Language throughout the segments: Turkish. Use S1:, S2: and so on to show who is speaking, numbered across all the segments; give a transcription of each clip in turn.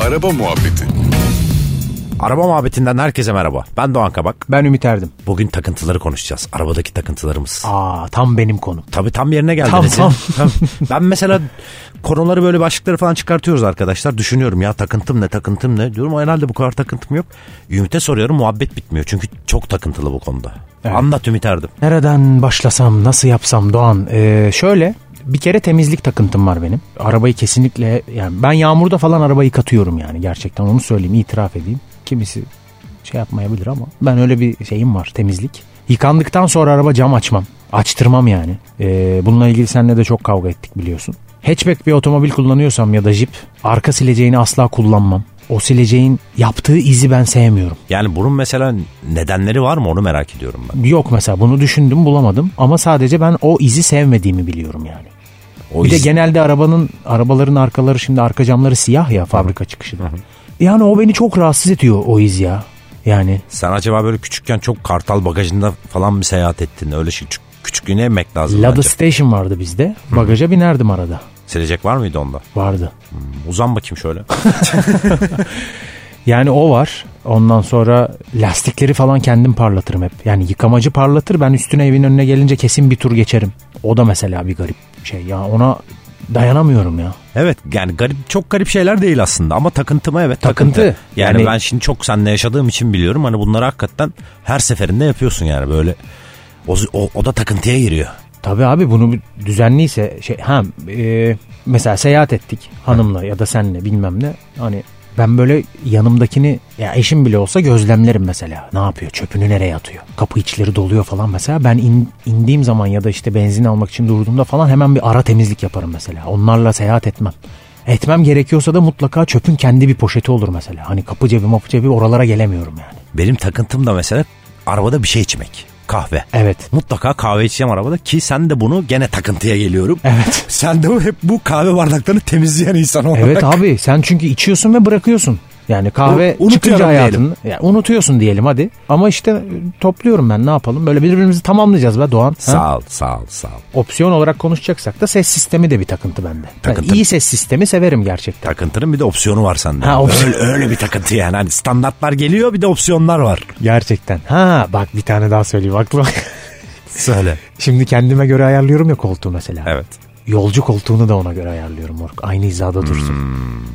S1: Araba muhabbeti.
S2: Araba muhabbetinden herkese merhaba. Ben Doğan Kabak.
S3: Ben Ümit Erdim.
S2: Bugün takıntıları konuşacağız. Arabadaki takıntılarımız.
S3: Aa tam benim konu.
S2: Tabii tam yerine geldi.
S3: Tam,
S2: Recep.
S3: tam.
S2: ben mesela konuları böyle başlıkları falan çıkartıyoruz arkadaşlar. Düşünüyorum ya takıntım ne takıntım ne diyorum. O herhalde bu kadar takıntım yok. Ümit'e soruyorum muhabbet bitmiyor. Çünkü çok takıntılı bu konuda.
S3: Evet.
S2: Anlat Ümit Erdim.
S3: Nereden başlasam, nasıl yapsam Doğan? Ee, şöyle bir kere temizlik takıntım var benim. Arabayı kesinlikle yani ben yağmurda falan arabayı yıkatıyorum yani gerçekten onu söyleyeyim, itiraf edeyim. Kimisi şey yapmayabilir ama ben öyle bir şeyim var temizlik. Yıkandıktan sonra araba cam açmam. Açtırmam yani. Ee, bununla ilgili seninle de çok kavga ettik biliyorsun. Hatchback bir otomobil kullanıyorsam ya da jip arka sileceğini asla kullanmam. O sileceğin yaptığı izi ben sevmiyorum.
S2: Yani bunun mesela nedenleri var mı onu merak ediyorum ben.
S3: Yok mesela bunu düşündüm bulamadım ama sadece ben o izi sevmediğimi biliyorum yani.
S2: O
S3: bir
S2: iz-
S3: de genelde arabanın arabaların arkaları şimdi arka camları siyah ya fabrika çıkışı. Yani o beni çok rahatsız ediyor o iz ya. Yani
S2: Sen acaba böyle küçükken çok kartal bagajında falan mı seyahat ettin? Öyle şey küçük- küçüklüğüne emek lazım.
S3: Lada
S2: bence.
S3: Station vardı bizde. Bagaja binerdim arada.
S2: Silecek var mıydı onda? Hmm,
S3: Vardı.
S2: Uzan bakayım şöyle.
S3: Yani o var. Ondan sonra lastikleri falan kendim parlatırım hep. Yani yıkamacı parlatır ben üstüne evin önüne gelince kesin bir tur geçerim. O da mesela bir garip şey ya ona dayanamıyorum ya.
S2: Evet yani garip çok garip şeyler değil aslında ama takıntıma evet takıntı.
S3: Takıntı.
S2: Yani,
S3: Yani-
S2: ben şimdi çok seninle yaşadığım için biliyorum hani bunları hakikaten her seferinde yapıyorsun yani böyle o, o, o da takıntıya giriyor.
S3: Tabii abi bunu bir düzenliyse şey ha e, mesela seyahat ettik hanımla ya da senle bilmem ne hani ben böyle yanımdakini ya eşim bile olsa gözlemlerim mesela. Ne yapıyor? Çöpünü nereye atıyor? Kapı içleri doluyor falan mesela. Ben in- indiğim zaman ya da işte benzin almak için durduğumda falan hemen bir ara temizlik yaparım mesela. Onlarla seyahat etmem. Etmem gerekiyorsa da mutlaka çöpün kendi bir poşeti olur mesela. Hani kapı cebi mapı cebi oralara gelemiyorum yani.
S2: Benim takıntım da mesela arabada bir şey içmek kahve.
S3: Evet.
S2: Mutlaka kahve içeceğim arabada ki sen de bunu gene takıntıya geliyorum.
S3: Evet.
S2: Sen de hep bu kahve bardaklarını temizleyen insan olarak.
S3: Evet abi sen çünkü içiyorsun ve bırakıyorsun. Yani kahve
S2: U- unutuyorum
S3: çıkınca
S2: diyelim.
S3: hayatını yani unutuyorsun diyelim hadi. Ama işte e, topluyorum ben ne yapalım. Böyle birbirimizi tamamlayacağız be Doğan. Ha?
S2: Sağ ol sağ ol sağ ol.
S3: Opsiyon olarak konuşacaksak da ses sistemi de bir takıntı bende.
S2: Takıntı.
S3: Ben iyi ses sistemi severim gerçekten.
S2: Takıntının bir de opsiyonu var sende.
S3: Ha, opsiyon.
S2: öyle, öyle bir takıntı yani. Hani standartlar geliyor bir de opsiyonlar var.
S3: Gerçekten. Ha bak bir tane daha söyleyeyim aklıma.
S2: Söyle.
S3: Şimdi kendime göre ayarlıyorum ya koltuğu mesela.
S2: Evet.
S3: Yolcu koltuğunu da ona göre ayarlıyorum moruk. Aynı hizada dursun.
S2: Hmm.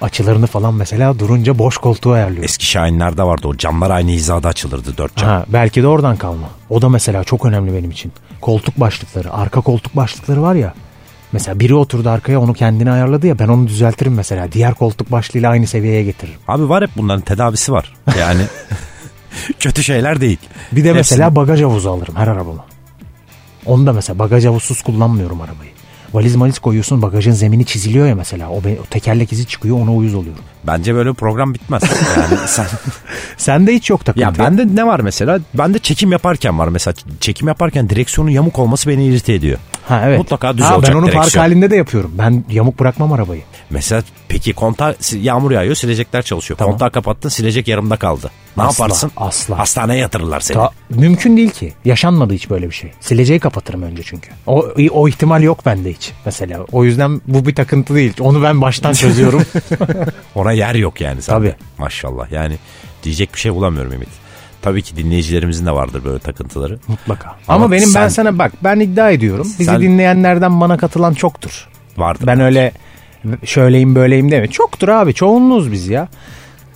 S3: Açılarını falan mesela durunca boş koltuğu ayarlıyorum.
S2: Eski Şahinler'de vardı o camlar aynı hizada açılırdı dört cam.
S3: Ha, belki de oradan kalma. O da mesela çok önemli benim için. Koltuk başlıkları, arka koltuk başlıkları var ya. Mesela biri oturdu arkaya onu kendine ayarladı ya ben onu düzeltirim mesela. Diğer koltuk başlığıyla aynı seviyeye getiririm.
S2: Abi var hep bunların tedavisi var. Yani kötü şeyler değil.
S3: Bir de mesela
S2: Hepsini-
S3: bagaj havuzu alırım her arabama. Onu da mesela bagaj havuzsuz kullanmıyorum arabayı. Valiz maliz koyuyorsun bagajın zemini çiziliyor ya mesela. O, be- o tekerlek izi çıkıyor ona uyuz oluyorum.
S2: Bence böyle program bitmez. Yani sen...
S3: Sende hiç yok takıntı.
S2: ya
S3: yok.
S2: bende ne var mesela? Bende çekim yaparken var mesela. Çekim yaparken direksiyonun yamuk olması beni irite ediyor.
S3: ha, evet.
S2: Mutlaka düz
S3: ha,
S2: olacak
S3: Ben onu park
S2: direksiyon.
S3: halinde de yapıyorum. Ben yamuk bırakmam arabayı.
S2: Mesela peki konta yağmur yağıyor silecekler çalışıyor.
S3: Tamam.
S2: Kontağı kapattın silecek yarımda kaldı. Ne
S3: Asla,
S2: yaparsın?
S3: asla.
S2: Hastaneye yatırırlar seni.
S3: Ta- mümkün değil ki. Yaşanmadı hiç böyle bir şey. Sileceği kapatırım önce çünkü. O, o ihtimal yok bende hiç mesela. O yüzden bu bir takıntı değil. Onu ben baştan çözüyorum.
S2: Ona yer yok yani zaten.
S3: Tabii.
S2: Maşallah yani diyecek bir şey bulamıyorum Ümit. Tabii ki dinleyicilerimizin de vardır böyle takıntıları.
S3: Mutlaka. Ama,
S2: Ama
S3: benim
S2: sen-
S3: ben sana bak ben iddia ediyorum. Bizi
S2: Sen-
S3: dinleyenlerden bana katılan çoktur.
S2: Vardır.
S3: Ben öyle şöyleyim böyleyim deme. Çoktur abi çoğunluğuz biz ya.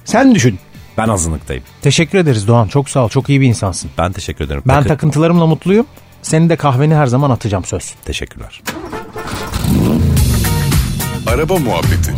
S3: Sen düşün.
S2: Ben azınlıktayım.
S3: Teşekkür ederiz Doğan. Çok sağ ol. Çok iyi bir insansın.
S2: Ben teşekkür ederim.
S3: Ben
S2: Takı-
S3: takıntılarımla mutluyum. Senin de kahveni her zaman atacağım söz.
S2: Teşekkürler.
S1: Araba muhabbeti.